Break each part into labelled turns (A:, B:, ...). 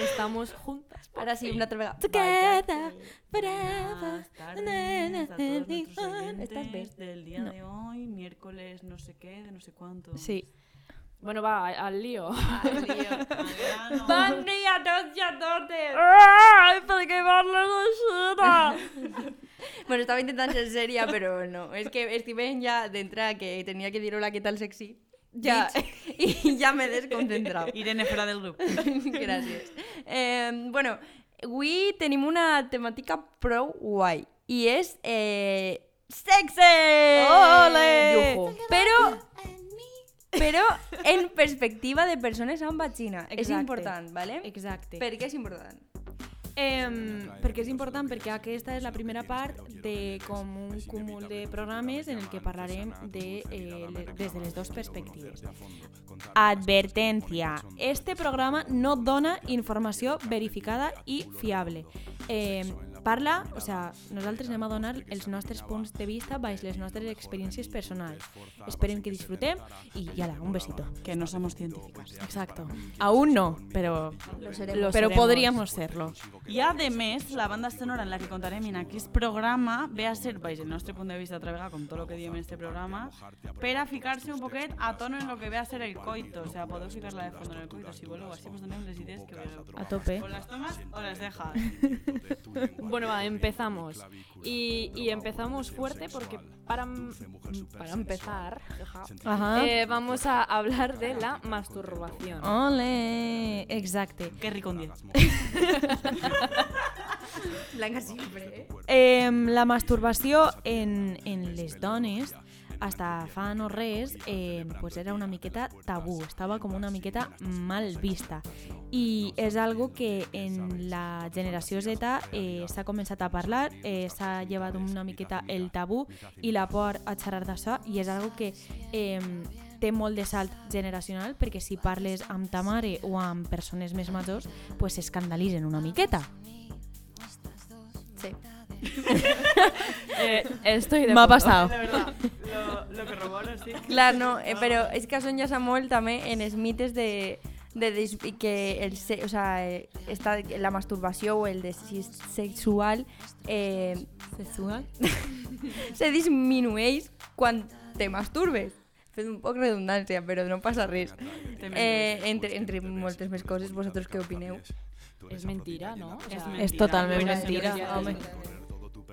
A: estamos juntas.
B: Ahora sí, una otra vez.
A: Together,
C: Buenas tardes a todos nuestros
B: ¿Estás bien?
C: oyentes del día
A: No.
C: de hoy, miércoles no sé qué, de no sé cuánto.
A: Sí. Bueno, va, a- al lío.
C: Mariano.
B: día, dos días, dos Bueno, estaba intentando ser seria, pero no. Es que Steven ya de entrada que tenía que decir hola, ¿qué tal sexy? Ya, y ya me he desconcentrado.
C: Irene fuera del grup.
B: Gràcies. Eh, bueno, avui tenim una temàtica prou guai i és eh, sexe!
A: Ole!
B: Yujú. Però, però en perspectiva de persones amb vagina. És
A: Exacte.
B: important, ¿vale?
A: Exacte.
B: Per què és important?
A: Em, perquè és important, perquè aquesta és la primera part de com un cúmul de programes en el que parlarem de, eh, le- des de les dues perspectives. Advertència. Este programa no dona informació verificada i fiable. Eh, parla, o sea, nosaltres anem a donar els nostres punts de vista baix les nostres experiències personals. Esperem que disfrutem i ja un besito.
C: Que no somos científicas.
A: Exacto. Aún no, pero,
B: Lo
A: pero
B: seremos.
A: podríamos serlo.
C: I a més, la banda sonora en la que contarem en aquest programa ve a ser, baix el nostre punt de vista otra vegada con todo lo que diem en este programa, per a ficar-se un poquet a tono en lo que ve a ser el coito. O sea, podeu ficar-la de fondo en el coito si voleu, així vos donem les idees que vulgueu.
A: A tope.
C: O les tomes o les dejas.
D: Bueno, va, empezamos. Y, y empezamos fuerte porque para, mm, para empezar
A: Ajá.
D: eh, vamos a hablar de la masturbación.
A: Ah. Ole, exacte.
C: Qué rico un 10.
B: Blanca sempre, eh?
A: Eh, la masturbació en, en les dones hasta fa no res eh, pues era una miqueta tabú, estava com una miqueta mal vista i és algo que en la generació Z eh, s'ha començat a parlar, eh, s'ha llevat una miqueta el tabú i la por a xerrar d'això i és algo que eh, té molt de salt generacional perquè si parles amb ta mare o amb persones més majors pues s'escandalitzen una miqueta.
B: Sí.
D: Eh, estoy de
A: M'ha
D: acuerdo.
A: passat.
C: De verdad, lo, lo corroboro, sí.
B: Clar, no, eh, però és que això enllaça molt també en els mites de, de dis- i que el, se- o sea, eh, està la masturbació o el desig sexual eh,
A: Sexual?
B: se disminueix quan te masturbes. Fes un poc redundància, però no passa res. Eh, entre, entre moltes més coses, vosaltres què opineu?
D: Es mentira, ¿no? O sea,
A: Es totalment
D: Bueno,
A: mentira.
D: sí, sí, sí.
A: Home.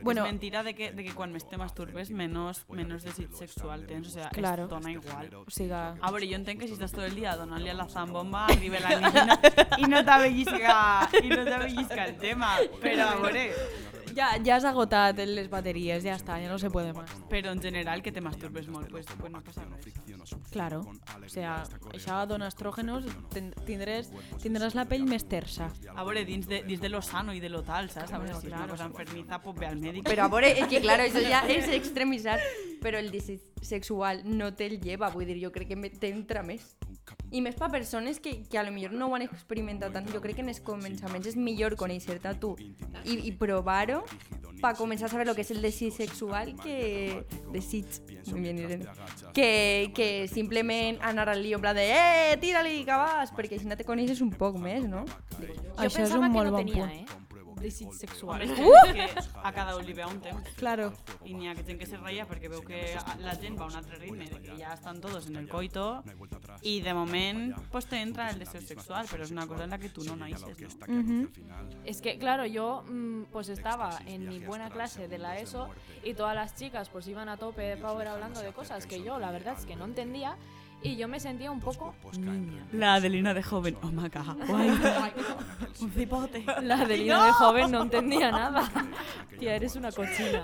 C: Bueno, es mentira de que, de que cuando más te masturbes, menos, menos desig sexual tens. O sea,
A: Claro.
C: es dona igual.
A: O siga...
C: A ver, yo entiendo que si estás todo el día donant-li a la zambomba, arriba la niña y no te bellisca, y no te bellisca el tema. Pero, a veure,
A: ah, Ya, ya has agotado las baterías, ya está, ya no se puede más.
C: pero en general que te masturbes molt, pues, pues no pasa res.
A: Claro. O sea, ya dona estrógenos, ten- tindràs, tindràs la pell més tersa.
C: A veure, dins de, dins de lo sano y de lo tal, ¿sabes? A veure, si és una cosa enfermiza, pues ve al médico.
B: Però a veure, és que claro, això ja és extremitzar, però el desig sexual no te'l lleva, vull dir, jo crec que me- t'entra més. I més per persones que, que a lo millor no ho han experimentat tant, jo crec que en els començaments és millor conèixer-te tu i, i provar-ho per començar a saber el que és el desig sexual que desig, muy bien, Irene, que, que simplement anar al lío en plan de eh, tira-li, que vas, perquè així no te coneixes un poc més, no? Digo jo.
D: Yo
A: Això és
D: pensaba
A: un
D: que
A: molt
D: no
A: bon
D: tenía,
A: punt.
D: ¿eh? Desig sexual.
C: que a cada un li ve un temps.
A: Claro.
C: I n'hi ha que gent que se ratlla perquè veu que la gent va a un altre ritme, de que ja estan tots en el coito, i de moment pues, te entra el deseo sexual, però és una cosa en la que tu no naixes, no?
D: Es que, claro, yo mm, pues estaba en mi buena clase de la ESO y todas las chicas pues iban a tope de power hablando de cosas que yo la verdad es que no entendía y yo me sentía un poco niña.
C: La Adelina de joven, oh my god, guai, un cipote.
D: La Adelina de joven no entendía nada. Tía, eres una cochina.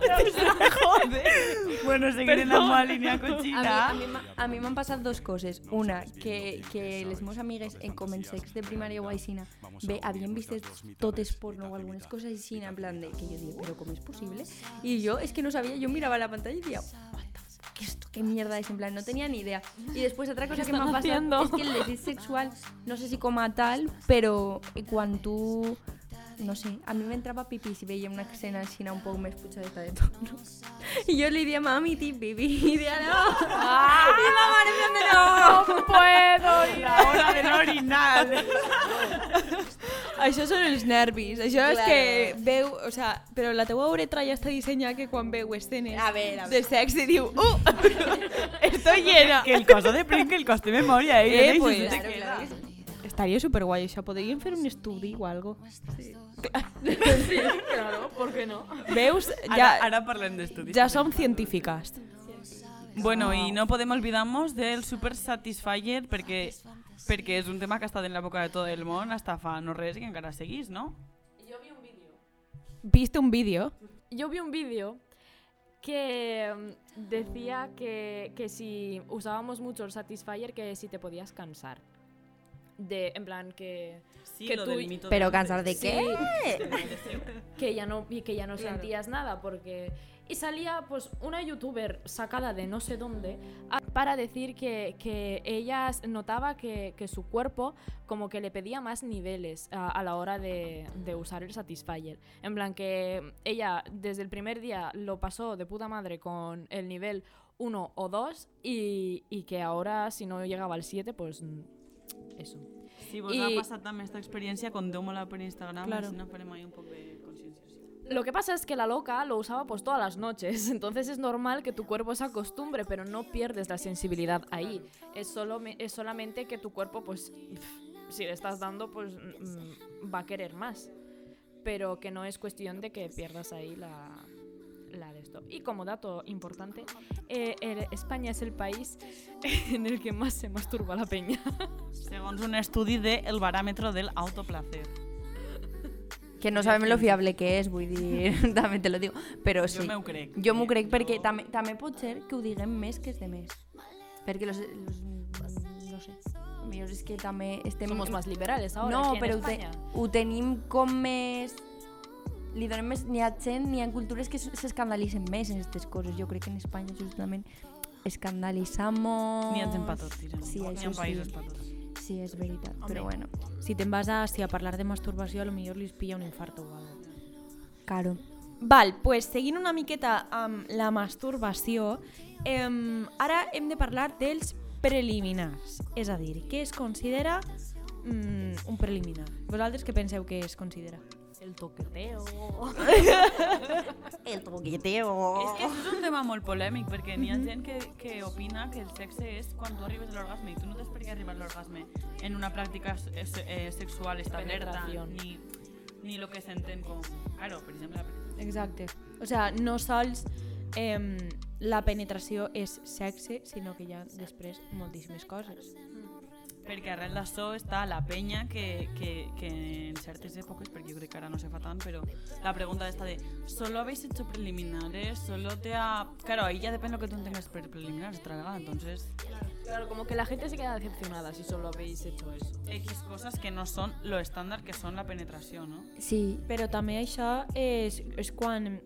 C: Bueno, seguirem amb la línia
B: A mi, a
C: cochina.
B: mi, m'ha- a mi m'han passat dos coses. Una, que, que les meves amigues en comencex de primària o aixina bé, havien vist totes porno o algunes coses així, en plan de, que jo dic, però com és possible? I jo, és que no sabia, jo mirava la pantalla i dia, what the fuck, ¿qué esto, qué mierda es, en plan, no tenía ni idea. Y después otra cosa que me ha
D: están
B: pasado
D: haciendo?
B: es que el desliz sexual, no sé si como a tal, pero cuando tú, no sé, a mí me entraba pipí si veía una escena así un poco más puchadeta de tono. Y yo le dije a mami, ti pipí, y decía, no, y
D: Ah,
B: mamá, no, no, no,
D: puedo ir.
C: La hora de l'orinal.
A: Això són els nervis. Això és
B: Claro.
A: que veu... O sea, però la teua uretra ja està dissenyada que quan veu escenes
B: A ver, a
A: de
B: ver.
A: sexe diu Uh! Estoy llena!
C: Que el coso de Pringle, el coso de memoria,
A: Eh,
C: ¿eh?
A: pues,
C: Claro,
B: Claro, claro que sí.
A: Estaria superguai això. Podríem fer un estudi o algo.
D: Claro, ¿por qué no?
A: Veus?
C: Ara,
A: Ja,
C: ara parlem d'estudis.
A: ja som científiques.
C: Bueno, i no podem oblidar-nos del Super Satisfyer perquè, perquè és un tema que ha estat en la boca de tot el món hasta fa no res i que encara seguís, no?
A: Viste un vídeo?
D: Yo vi un vídeo que mm, decía que, que si usábamos mucho el Satisfyer, que si te podías cansar. De, en plan, que,
C: Sí,
D: Que lo tú- del mito
B: Pero cansar de qué?
D: que ya no, y que ya no sentías nada porque... Y salía pues una youtuber sacada de no sé dónde a- para decir que, que ella s- notaba que, que su cuerpo como que le pedía más niveles a, a la hora de, de usar el Satisfyer. En plan que ella desde el primer día lo pasó de puta madre con el nivel 1 o 2 y, y que ahora si no llegaba al 7 pues mm, eso.
C: Si vos
D: I-
C: ha passat també aquesta experiència, conteu-me-la per Instagram,
A: Claro.
C: claro. si no farem ahí un poc de consciència.
D: Lo que pasa es que la loca lo usaba pues todas las noches, entonces es normal que tu cuerpo se acostumbre, pero no pierdes la sensibilidad ahí. Es, solo, es solamente que tu cuerpo pues pf, si le estás dando pues mm, mm, va a querer más, pero que no es cuestión de que pierdas ahí la, la de esto. Y como dato importante, eh, el- España es el país en el que más se masturba la peña.
C: Segons un estudi de El baràmetro del autoplacer.
B: Que no sabem lo fiable que és, vull dir, també te lo digo. Però sí,
C: Jo me ho crec.
B: Jo m'ho crec
C: Jo-
B: perquè també, també pot ser que ho diguem més que els de més. Perquè los, los, no sé, millor és que també estem...
D: Somos más liberales ahora.
B: No,
D: aquí en
B: però ho, te,
D: España.
B: ho tenim com més... Li donem més... N'hi ha gent, n'hi ha cultures que s- s'escandalitzen més en aquestes coses. Jo crec que en Espanya justament escandalitzamos...
C: N'hi ha gent pa tot, tira.
B: Sí,
C: N'hi
B: això
C: ha països
B: sí.
C: pa tot.
B: Sí, és veritat, però bueno.
A: Si te'n vas a Àsia a parlar de masturbació, a lo millor li pilla un infarto o alguna cosa.
B: Caro.
A: Val, pues seguint una miqueta amb la masturbació, em, ara hem de parlar dels preliminars. És a dir, què es considera mm, un preliminar? Vosaltres què penseu que es considera?
D: El toqueteo.
B: El truqueteo.
C: És que això és un tema molt polèmic, perquè n'hi
B: Mhm.
C: ha gent que, que opina que el sexe és quan tu arribes a l'orgasme i tu no tens per què arribar a l'orgasme en una pràctica se- se- eh, sexual establerta,
D: Penetración.
C: ni, ni lo que s'entén com... Claro, per exemple, la penetración.
A: Exacte. O sea, no sols em, la penetració és sexe, sinó que hi ha després moltíssimes coses.
C: perquè arrel d'això està la penya que, que, que en certes èpoques, perquè jo crec que ara no se fa tant, però la pregunta està de ¿Solo habéis hecho preliminares? ¿Solo te ha...? Claro, ahí ya depende lo que tú entiendas por preliminares otra vez, entonces...
D: Claro, como que la gente se queda decepcionada si solo habéis hecho eso.
C: X cosas que no son lo estándar que son la penetración, ¿no?
B: Sí,
A: Però també això és, és quan,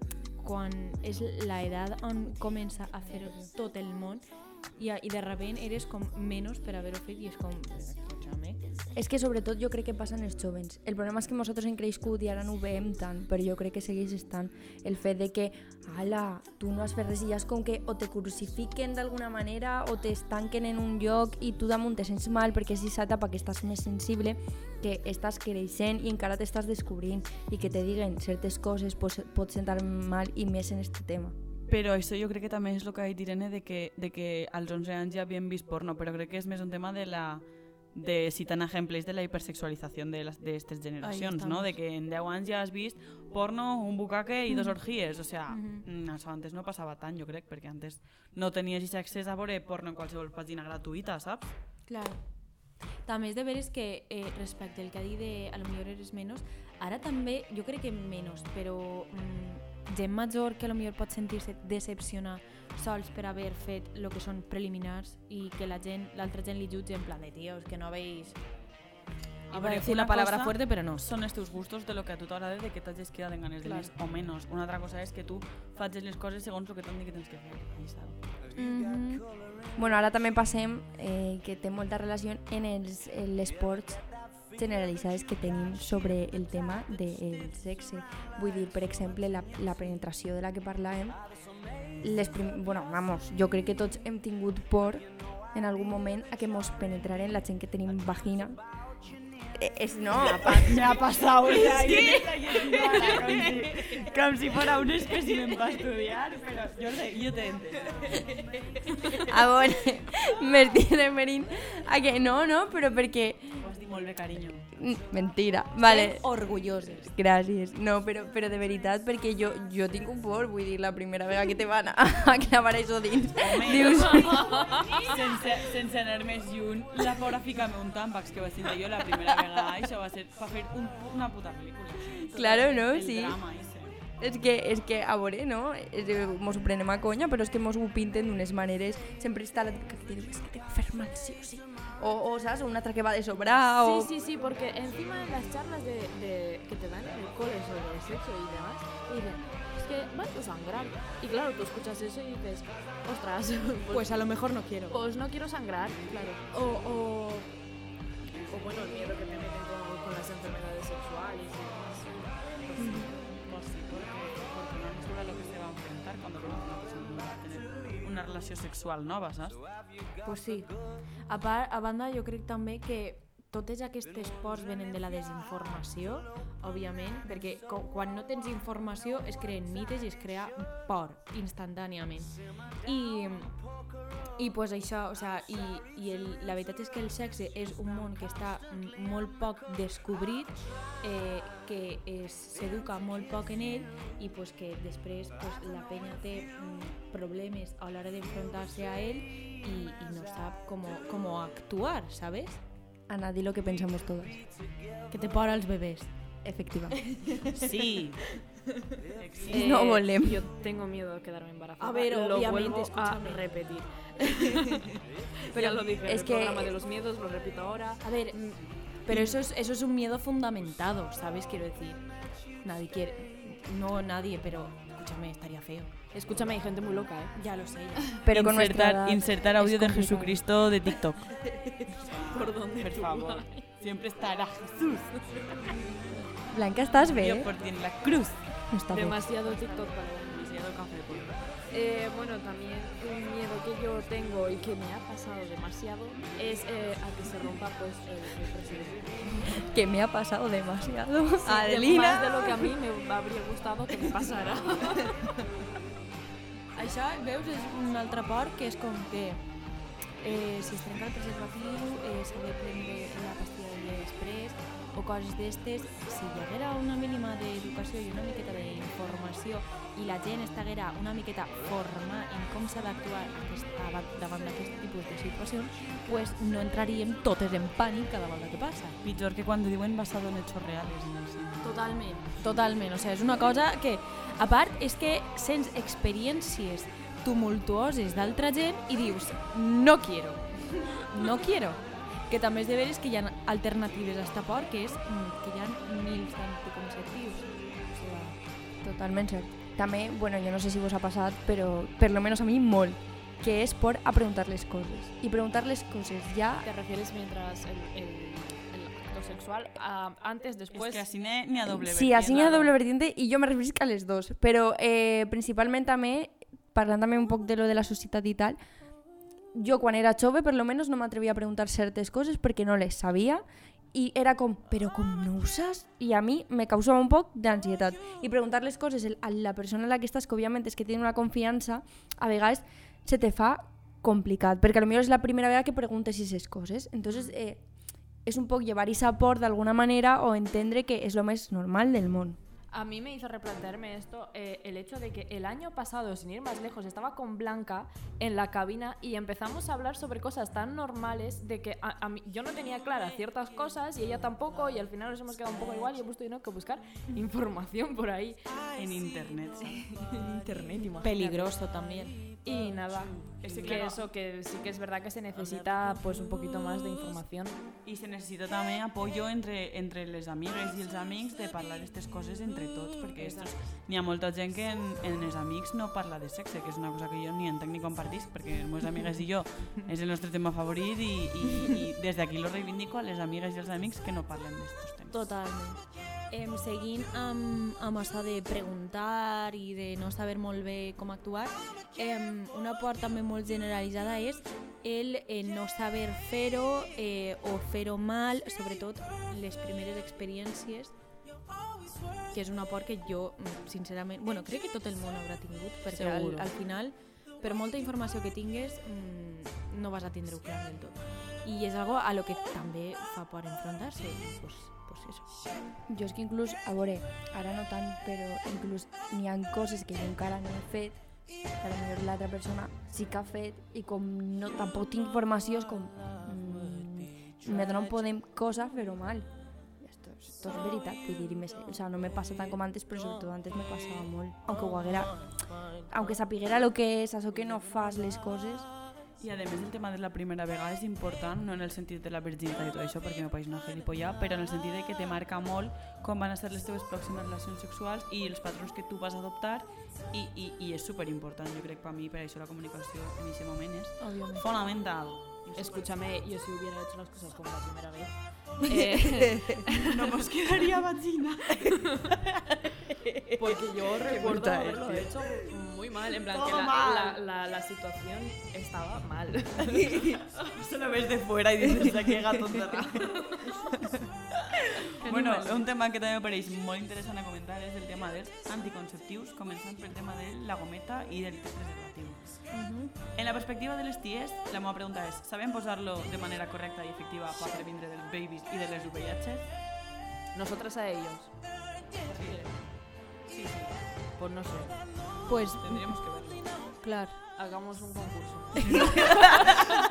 A: quan és la edat on comença a fer tot el món i, a- i de rebent eres com menys per haver-ho fet i és com... "Escolta-me".
B: És que sobretot jo crec que passa en els jovens. El problema és que nosaltres hem crescut i ara no ho veiem tant, però jo crec que segueix estant el fet de que, ala, tu no has fet res i ja és com que o te crucifiquen d'alguna manera o t'estanquen en un lloc i tu damunt te sents mal perquè és aquesta etapa que estàs més sensible, que estàs creixent i encara t'estàs descobrint i que te diguen certes coses pues, pot sentar mal i més en este tema.
C: Però això jo crec que també és el que ha dit Irene de que, de que als 11 anys ja havien vist porno, però crec que és més un tema de la de citant ejemples de la hipersexualització d'aquestes generacions, no? De que en 10 anys ja has vist porno, un bucaque i dos orgies, o sea,
A: Mm-hmm.
C: mm, això antes no passava tant, jo crec, perquè antes no tenies aquest accés a veure porno en qualsevol pàgina gratuïta, saps?
A: Clar. També és de veres que eh, respecte al que ha dit de a lo millor eres menys, ara també jo crec que menys, però mm, gent major que a lo millor pot sentir-se decepcionar sols per haver fet el que són preliminars i que la gent, l'altra gent li jutge en plan de tio, és que no veis...
C: A
A: Iba a
C: veure,
A: decir
C: una
A: la palabra
C: cosa-
A: fuerte, però no.
C: són els teus gustos de lo que a tu t'agrada de que t'hagis quedat en ganes de més o menys. Una altra cosa és que tu facis les coses segons el que t'han dit que tens que fer. Ahí està.
B: Bueno, ara també passem eh, que té molta relació en els, en les esports generalitzades que tenim sobre el tema del sexe. Vull dir, per exemple, la, la penetració de la que parlàvem, les prim... bueno, vamos, jo crec que tots hem tingut por en algun moment a que mos penetraren la gent que tenim vagina Eh, Es no, apa-
C: Me ha pasado. o sea, yo estaba aquí encima, la- com si- com si fuera un espécimen para estudiar, pero yo, le- yo te entiendo.
B: ahora ah, me tiene merín a que no, no, pero porque
C: Pues di molt bé, carinyo.
B: Mm, Mentira, vale.
A: Orgullosos.
B: Gràcies. No, però, però de veritat, perquè jo, jo tinc un por, vull dir, la primera vegada que te van a, a clavar això dins. Dius,
C: Sense, sense anar més lluny, la pobra fica-me un tàmpax que va sentir jo la primera vegada. Això va ser per fer un, una puta pel·lícula.
B: Claro, no,
C: El
B: sí.
C: drama ese.
B: és que, és que a veure, no? És, eh, mos ho prenem a conya, però és que mos ho pinten d'unes maneres. Sempre està la típica que diu, és que te va fer mal, sí o sí. O, o saps, una altra que va de sobrar, o...
D: Sí, sí, sí, porque encima en las charlas de, de- que te dan en el cole sobre el sexo y demás, te dicen, es que vas a sangrar. Y claro, tú escuchas eso y dices, ostras, pues,
A: Pues a lo mejor no quiero.
D: pues no quiero sangrar, claro. O, o, o bueno, el miedo que te meten con, con las enfermedades sexuales y demás.
C: Pues sí, porque, porque no sabe lo que se va a enfrentar cuando conoce a una persona que va a tener una relació sexual nova, saps?
A: Pues sí. A, part, a banda, jo crec també que totes aquestes pors venen de la desinformació, òbviament, perquè co- quan no tens informació es creen mites i es crea por instantàniament. I, i pues això, o sea, i, i el, la veritat és que el sexe és un món que està mm, molt poc descobrit, eh, que es- s'educa molt poc en ell i pues, que després pues, la penya té mm, problemes a l'hora d'enfrontar-se a ell i, i no sap com, com actuar, ¿sabes?
B: Ana, di lo que pensamos todas.
A: Que te por als bebès.
B: Efectivamente.
C: Sí.
B: Eh, No volem.
D: Yo tengo miedo de quedarme embarazada.
A: A ver,
D: lo
A: obviamente,
D: vuelvo a
A: escúchame.
D: repetir. Pero lo dije en
B: es
D: el
B: que-
D: programa de los miedos, lo repito ahora.
A: A ver, mm, pero eso es, eso es un miedo fundamentado, ¿sabes? Quiero decir, nadie quiere, no nadie, pero escúchame, estaría feo.
D: Escúchame, hay gente muy loca, ¿eh?
A: Ya lo sé.
B: Pero con nuestra
C: insertar,
B: edad
C: insertar audio
B: es
C: de
B: complicado.
C: Jesucristo de TikTok.
D: ¿Por dónde?
C: Por
D: tú
C: favor.
D: vas?
C: Siempre estará Jesús.
B: Blanca, ¿estás
C: Dios
B: bé?
C: por ti en la cruz.
B: No está bé.
D: Demasiado TikTok para mí.
C: Demasiado café por
D: Eh, bueno, también un miedo que yo tengo y que me ha pasado demasiado es eh, a que se rompa pues el, el presidente.
B: Que me ha pasado demasiado.
D: Más de
B: Adelina.
D: lo que a mí me habría gustado que me pasara.
A: Això, veus, és un altre port que és com que eh, si es trenca el preservatiu eh, s'ha de prendre la pastilla del dia després o coses d'estes. Si hi haguera una mínima d'educació i una miqueta d'informació i la gent estiguera una miqueta forma en com s'ha d'actuar aquest- davant- davant d'aquest tipus de situacions, pues no entraríem totes en pànic cada volta que passa.
C: Pitjor que cuando diuen basado en hechos reales. No sé.
A: Totalment. Totalment, o sigui, és una cosa que, a part, és que sents experiències tumultuoses d'altra gent i dius, no quiero, no quiero. Que també és de veres que hi ha alternatives a esta por, que és mm, que hi ha mils d'anticonceptius. O sigui,
B: Totalment cert. També, bueno, jo no sé si vos ha passat, però per lo menos a mi molt, que és por a preguntar les coses. I preguntar les coses ja...
D: ¿Te refieres mientras el, el- el acto sexual? a antes, después.
C: es que así ne- ni a doble
B: Sí, així hi ha doble vertiente i jo me referisc a les dos. Però eh, principalment també, parlant també un poc de lo de la societat i tal, jo quan era jove per lo menos no m'atrevia a preguntar certes coses perquè no les sabia i era com, però com no ho saps? I a mi me causava un poc d'ansietat. I preguntar les coses el- a la persona a la que estàs, que òbviament és que té una confiança, a vegades se te fa complicat, perquè a lo millor és la primera vegada que preguntes aquestes coses. Entonces, eh, és un poc llevar esa por d'alguna manera o entendre que és lo més normal del món.
D: A mí me hizo replantearme esto eh, el hecho de que el año pasado, sin ir más lejos, estaba con Blanca en la cabina y empezamos a hablar sobre cosas tan normales de que a- a mí- yo no tenía claras ciertas cosas y ella tampoco y al final nos hemos quedado un poco igual y hemos tenido que buscar información por ahí.
C: En internet. ¿sabes?
A: peligroso també.
D: Y nada,
C: Es que
D: que
C: claro.
D: eso que sí que es verdad que se necesita pues un poquito más de información.
C: I se necessita també apoyo entre, entre les amigues i els amics de parlar aquestes coses entre tots, perquè estos, n'hi ha molta gent que en, en els amics no parla de sexe, que és una cosa que jo ni entenc ni compartisc, perquè les meves amigues i jo és el nostre tema favorit i, i, i des d'aquí lo reivindico a les amigues i els amics que no parlen d'estos temes.
A: Totalment. Em seguint amb, amb això de preguntar i de no saber molt bé com actuar, em, una por també molt generalitzada és el eh, no saber fer-ho eh, o fer-ho mal, sobretot les primeres experiències que és una por que jo, mm, sincerament, bueno, crec que tot el món haurà tingut, perquè al,
D: Seguro.
A: al final, per molta informació que tingues, mm, no vas a tindre-ho clar del tot. I és algo a lo que també fa por enfrontar-se, i pues, pues eso.
E: Jo és que inclús, a veure, ara no tant, però inclús n'hi han coses que jo encara no he fet, que potser l'altra persona sí que ha fet i com no, tampoc tinc informació és com... Mm, nosaltres no podem coses fer-ho mal. I Esto, és- esto és veritat, vull dir, i més, o sea, no me passa tant com antes, però sobretot antes me passava molt. Aunque ho haguera, aunque sapiguera lo que és, això que no fas les coses,
C: I a més el tema de la primera vegada és important, no en el sentit de la virginitat i tot això, perquè meu país no gilipollà, però en el sentit de que te marca molt com van a ser les teves pròximes relacions sexuals i els patrons que tu vas adoptar i, i, i és superimportant, jo crec, per mi, per això la comunicació en aquest moment és
A: Òbviament.
C: fonamental.
D: Escúchame, yo si hubiera hecho las cosas como la primera vez. eh,
C: No mos quedaria vagina.
D: porque yo recuerdo
C: bruta
D: haberlo
C: eres,
D: hecho muy mal. En plan,
C: Todo
D: que la,
C: mal.
D: la- la- la situación estaba mal.
C: Se lo ves de fuera i dices, "Ah, que gato enterrado". bueno, un tema que també em pareix molt interessant a comentar és el tema dels anticonceptius, començant pel tema de la gometa i del test preservatiu. En la perspectiva de les ties, la meva pregunta és, sabem posar-lo de manera correcta i efectiva per previndre dels babies i de les VIH?
D: Nosotras a ellos.
C: Sí, sí,
D: Pues no sé.
A: Pues,
C: tendríamos que verlo.
A: clar,
D: Hagamos un concurso.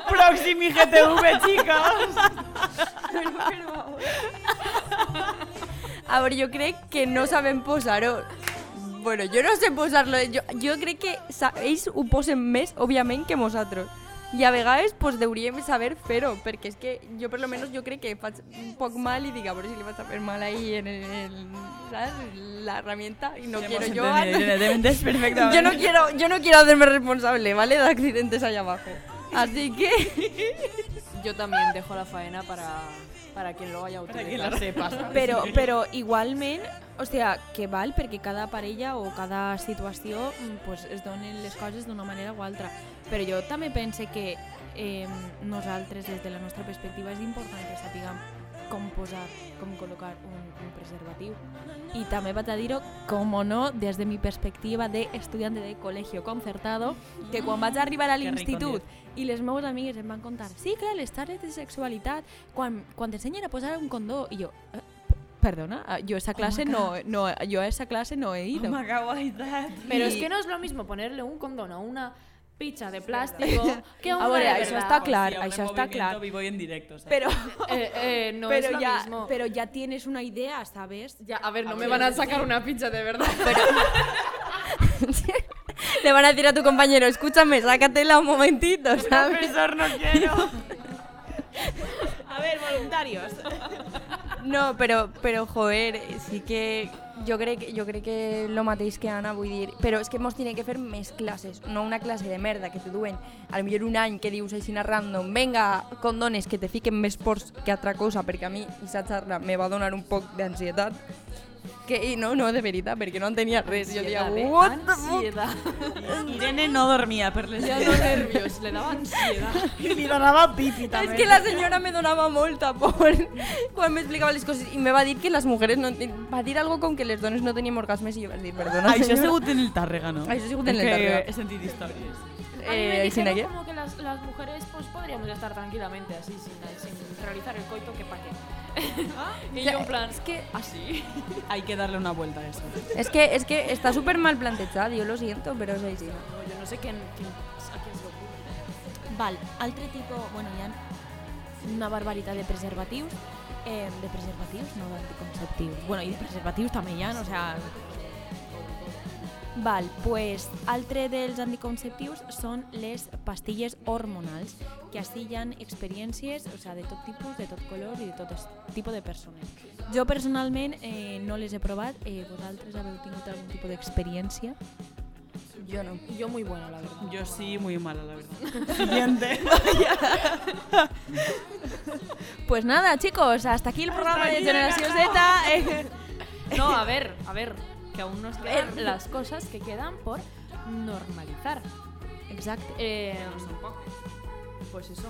C: Próximi GTV, chicos!
B: A veure, jo crec que no sabem posar-ho. Bueno, jo no sé posar-lo. Jo, jo crec que sa- ells ho posen més, òbviament, que nosaltres. I a vegades pues, deuríem saber fer-ho, perquè és que jo per lo menos jo crec que faig un poc mal i dic, a veure si li vaig a fer mal ahí en el, en, saps? la herramienta i no quiero yo...
C: perfectamente.
B: Yo no quiero, yo no quiero hacerme responsable, ¿vale? De accidentes allá abajo. Así que...
D: Yo también dejo la faena para, para quien lo vaya a utilizar.
C: sepas.
A: però, però igualment, o sea, que val perquè cada parella o cada situació mm, pues, es donen les coses d'una manera o altra. Però jo també pense que eh, nosaltres, des de la nostra perspectiva, és important que sapiguem com posar, com col·locar un, un preservatiu. Y también para dir-ho, como no, desde mi perspectiva de estudiante de colegio concertado, que cuando vas a arribar al
C: Qué rico,
A: institut y les meus amigues em van contar sí, clar, les tardes de sexualitat, quan, quan t'ensenyen a posar un condó, i jo, "Eh, p- perdona, ah, jo
D: Oh
A: a esa clase no, no, yo a esa clase no he
C: Oh
A: ido.
D: Pero es que no es lo mismo ponerle un condón a una picha de plástico que a una
A: Ahora,
D: de
A: eso
D: verdad.
A: está claro, eso está claro.
C: Vivo en directo, ¿sabes?
A: Pero,
D: Eh, eh, no es
A: pero,
D: lo
A: ya,
D: mismo.
A: pero ya tienes una idea, ¿sabes?
D: Ya, a ver, no me van a sacar una picha de verdad. Pero
B: Le van a decir a tu compañero, escúchame, sácatela un momentito, ¿sabes?
C: Profesor, no quiero.
A: A ver, voluntarios.
B: No, pero, pero joder,
E: sí que jo crec, jo crec que lo mateix que Anna vull dir, però és que mos tenen que fer més classes, no una classe de merda que te duen a lo millor un any que dius així a random venga, condones que te fiquen més ports que altra cosa, perquè a mi aquesta xarra me va donar un poc d'ansietat que, i no, no, de veritat, perquè no entenia res, jo deia, what the fuck?
D: ¿eh? ansiedad.
C: Irene no dormía, pero les
D: Ya no nervios, le daba ansiedad.
C: Y donaba pipi
E: Es que la señora me donaba molta por quan me explicaba les coses i me va dir que les mujeres no ten- va dir algo com que les dones no tenim orgasmes i jo vaig dir, perdona,
C: Això ha
E: senyora".
C: sigut en el Tàrrega, no?
E: Això ha sigut en el
C: És que
E: Tàrrega.
C: He sentit històries.
D: A mí me
E: Eh, sin
D: dijeron
E: aquí.
D: como que las, las mujeres pues podríamos estar tranquilamente así sin, sin realizar el coito que pa' qué. y yo en plan, ¿ah, es que así.
C: Hay que darle una vuelta a eso.
E: Es que, es que está súper mal plantejado, yo lo siento, pero es así.
D: No, yo no sé quién, quién- a quién se le ocurre.
A: Val, altre tipus, bueno, hi ha una barbaritat de preservatius, eh, de preservatius, no d'anticonceptius. Bueno, i de preservatius també hi ha, o sea... Val, pues, altre dels anticonceptius són les pastilles hormonals, que així hi ha experiències, o sea, de tot tipus, de tot color i de tot es- tipus de persones. Jo personalment eh, no les he provat, eh, vosaltres haveu tingut algun tipus d'experiència?
E: Yo no.
D: Yo muy buena, la verdad.
C: Yo sí, muy mala, la verdad. Siguiente.
A: Pues nada, chicos, hasta aquí el programa de Generació Z. Eh,
D: No, a ver, a ver, que aún nos quedan las cosas que quedan por normalizar.
A: Exacte.
D: Eh,
B: pues eso.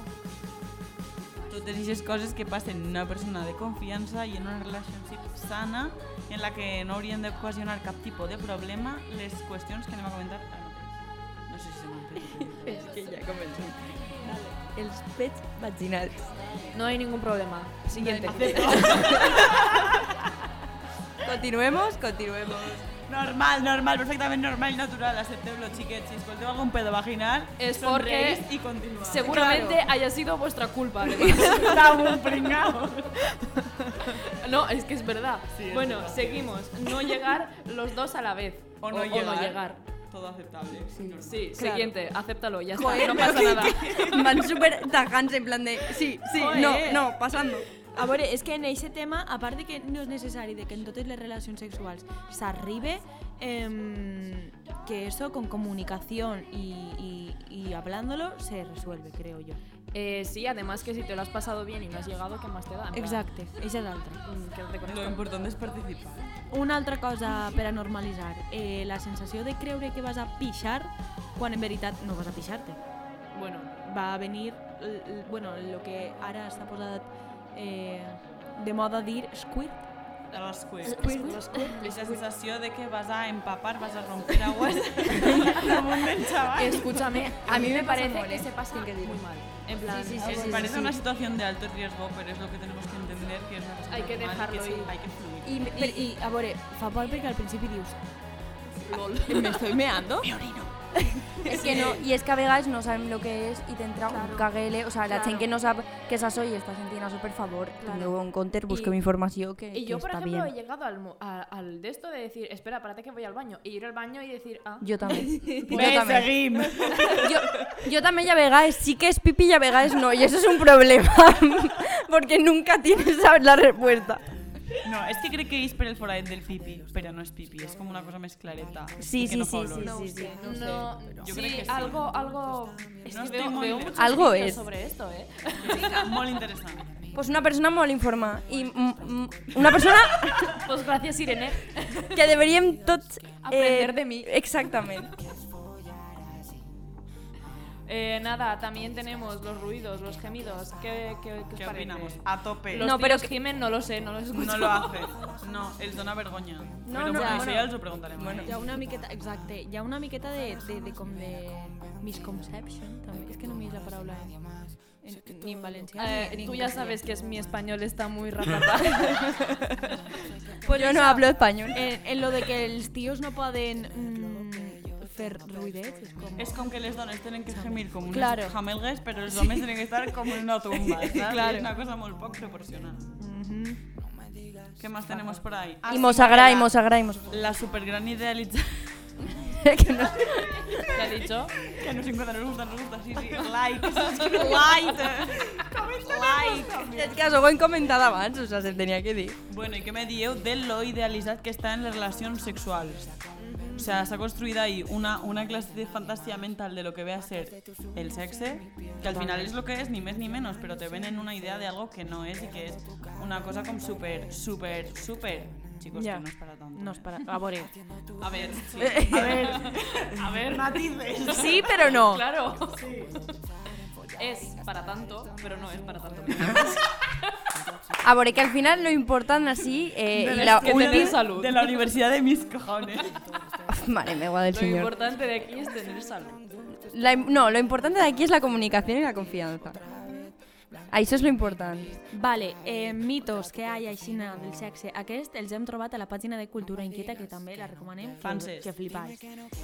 C: Totes aquestes coses que passen en una persona de confiança i en una relació sana en la que no haurien d'ocasionar cap tipus de problema les qüestions que anem a comentar ara mateix. No sé si se m'ha entès.
B: Es que ya comencé. Els pets vaginals.
D: No hay ningún problema. Siguiente.
B: Continuemos, continuemos.
C: Normal, normal, perfectament normal i natural. Accepteu-lo, xiquets. Si escolteu algun pues pedo vaginal,
D: És
C: somreís
D: porque
C: i continueu.
D: Seguramente haya sido vuestra culpa. además.
C: Claro. un pringao.
D: No, es que es verdad.
C: Sí, es
D: bueno,
C: verdad.
D: seguimos. No llegar los dos a la vez.
C: O no,
D: O
C: llegar.
D: no llegar.
C: Todo aceptable. normal.
D: Sí,
B: Claro.
D: siguiente, acéptalo, ya está,
B: Joder,
D: no
B: no,
D: pasa nada.
B: Van súper tajantes en plan de sí, sí, no,
D: Joder.
B: no, pasando.
A: A veure, és que en aquest tema, a part de que no és necessari de que en totes les relacions sexuals s'arribe, eh, que eso con comunicación y, y, y hablándolo se resuelve, creo yo.
D: Eh, sí, además que si te lo has pasado bien y no has llegado, ¿qué más te da? En plan,
A: Exacte, eixa és l'altra.
D: mm, quédate con
C: Lo
D: esto.
C: important és participar.
A: Una altra cosa per a normalitzar, eh, la sensació de creure que vas a pixar quan en veritat no vas a pixar-te.
D: Bueno,
A: va a venir, l- l- bueno, lo que ara s'ha posat eh, de moda dir squirt.
C: A l'escuer. Aquesta sensació de que vas a empapar, vas a romper aguas damunt del xaval.
D: escúchame, a mí me parece que se pasa
B: Sin que
D: muy
B: digas.
D: mal. En plan,
B: Sí, sí, sí,
C: Es-
B: sí,
C: parece una situación de alto riesgo, pero es lo que tenemos que entender, que es una cosa
D: Hay que
C: normal,
D: dejarlo
C: que sí,
D: ir.
C: hay que fluir.
A: I, i, I, a veure, fa por perquè al principi dius "Ah,
D: lol.
A: me estoy meando?
E: Es que no, y es que a veces no saben lo que es y te entra un caguele. O sea, la
D: Claro.
E: gente que no sabe qué es eso y está sintiendo eso, por favor,
D: Claro.
E: luego en Counter busqué
D: Y-
E: información que, que
D: Y yo, por
E: está
D: ejemplo, he
E: bien.
D: llegado al, mo- a- al de esto de decir, espera, párate que voy al baño. Y ir al baño y decir, ah,
E: Yo también. yo,
C: Ven,
E: también.
C: seguim.
E: Yo, yo también ya vegáis, sí que es pipi ya vegáis, no, y eso es un problema, porque nunca tienes sabes la respuesta.
C: No, es que crec que és per el foradet del pipi, però no és pipi, és com una cosa més clareta.
E: Sí,
C: que
E: sí,
C: no
E: sí,
C: fa
E: sí,
C: olor.
E: sí, sí.
D: no,
C: Yo
D: sí,
C: creo que sí.
D: algo, algo. Es
C: No
D: que
C: estoy
D: veo,
C: muy
D: veo
C: lejos.
D: muchos
E: Algo
D: vídeos
E: es.
D: sobre esto, ¿eh?
C: Molt interessant.
E: Pues una persona mal informada y mm, mm, una persona
D: Pues gracias, Irene.
E: que deberían tots
D: Aprender
E: de mí. eh, Exactamente.
D: Eh, nada, también tenemos los ruidos, los gemidos. ¿Qué, qué, qué os
C: Què
D: parece?
C: opinamos? A tope.
D: Los
E: No,
D: no,
E: pero pues
D: pero gimen no lo sé, no lo escucho.
C: No lo hace. No, els dona vergonya. No, però
E: no,
C: bueno, això
E: bueno.
C: ja els ho preguntarem. Bueno,
A: Hi ha una miqueta, exacte, hi ha una miqueta de, de, de com de misconception, també. És que no m'hi és la paraula en, en, ni en valencià
D: Eh,
A: ni, ni
D: tú
A: en
D: ya
A: castellà.
D: sabes que es mi español está muy ratata.
E: yo no hablo español.
A: En, en lo de que els tios no poden mm, fer ruidets, és com...
C: És com que les dones tenen que gemir com unes
A: Claro.
C: jamelgues, però els homes tenen que estar com en una tumba, saps?
A: Claro.
C: És una cosa molt poc proporcional. ¿Qué más tenemos por ahí? Ah,
E: Y
C: sí,
E: mosagrá, y
C: la-
E: mosagrá, y mosagrá.
C: La supergran idealización.
E: Que no-
D: ¿Te ha dicho?
C: que nos encanta, nos gusta, nos gusta. Sí, sí. Like, subscribe, like. like.
E: Es que eso ho hem comentat abans, o sea, se tenía que decir.
C: Bueno, ¿y qué me dieu de lo idealizat que está en las relaciones sexuales? O sea, se ha construido ahí una, una clase de fantasía mental de lo que ve a ser el sexo, que al final es lo que es, ni más ni menos, pero te venden una idea de algo que no es y que es una cosa como súper, súper, súper. Chicos,
A: Ya.
C: que no es para tanto. ¿eh?
A: No, espera, a veure.
C: A ver, sí. a ver, a ver, matices.
E: Sí, pero no.
D: Claro. Es para tanto, pero no es para tanto.
E: A veure, que al final lo importante así... Eh, y la
D: que tener
E: última...
D: salud.
C: De la universidad de mis cojones.
E: Madre mía, guau del
D: Lo
E: señor.
D: importante de aquí es tener salud.
E: La im- no, lo importante de aquí es la comunicación y la confianza. Ah, Eso es lo importante.
A: Vale, eh, mitos que hi ha aixina del sexe. Aquest els hem trobat a la pàgina de Cultura Inquieta, que també la recomanem, que,
C: Fanses.
A: que flipais.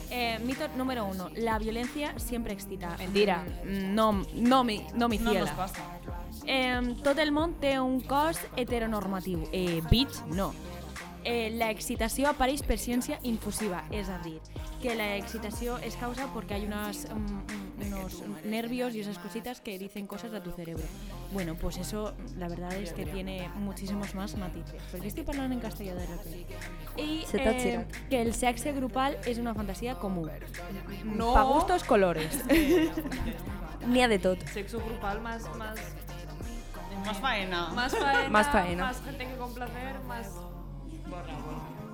A: Eh, mito número uno, la violencia siempre excita.
D: Mentira.
A: Mm, No, no, mi, no mi
C: No nos
A: ciela.
C: pasa.
A: Eh, tot el món té un cos heteronormatiu. Eh, bitch, no. Eh, la excitació apareix per ciència infusiva, és a dir, que la excitació es causa porque hay unas, mm, mm, unos nervios y esas cositas que dicen cosas a tu cerebro. Bueno, pues eso la verdad es que tiene muchísimos más matices. Porque estoy hablando en castellano de repente. Y eh,
E: Se t'ha girat.
A: que el sexo grupal es una fantasía común. No. Pa gustos colores.
E: Ni a de todo.
D: Sexo grupal más, más,
C: Más faena.
D: más faena.
E: Más faena.
D: Más gente que complacer, más. Borra,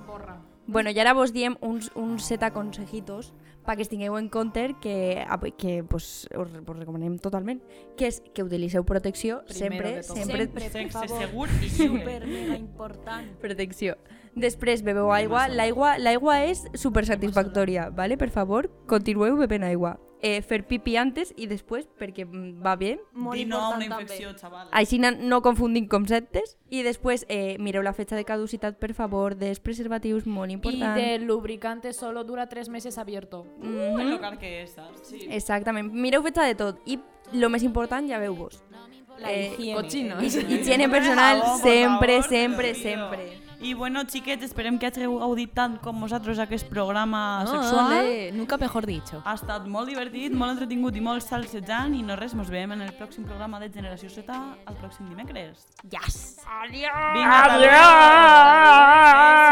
D: borra.
B: Bueno, i ara vos diem uns, uns set aconsejitos perquè es tingueu en compte que, a- que pues, us, us recomanem totalment, que és que utilitzeu protecció sempre,
A: Primero de tot.
B: sempre,
C: Sexe segur i lliure.
F: mega important.
B: protecció. Després bebeu aigua. L'aigua l'aigua és super satisfactòria, ¿vale? Per favor, continueu bevent aigua. Eh, fer pipi antes i després perquè mm, va bé.
F: Molt
C: Di no a una
F: important també.
C: infecció, xaval. eh?
B: Així na- no confundim conceptes. I després eh, mireu la fecha de caducitat, per favor, dels preservatius, molt
A: Y
B: important.
A: del lubricante solo dura tres meses abierto.
B: Mhm.
F: Mm-hmm.
C: El local que és, saps? Sí.
F: Eh,
B: Exactament. Mireu fecha de tot. I lo més important, ja veu vos. Eh,
F: La
A: Eh,
F: higiene.
A: Cochinos.
B: Higiene personal,
C: Por favor,
B: sempre,
C: por
B: sempre,
C: Dios mío.
B: sempre.
C: I bueno, xiquets, esperem que hagueu gaudit tant com vosaltres aquest programa
F: Ah,
C: sexual.
F: Ole, nunca mejor dicho.
C: Ha estat molt divertit, molt entretingut i molt salsejant i no res, mos veiem en el pròxim programa de Generació Z el pròxim dimecres. Yes! Adiós! Vinga, Adiós!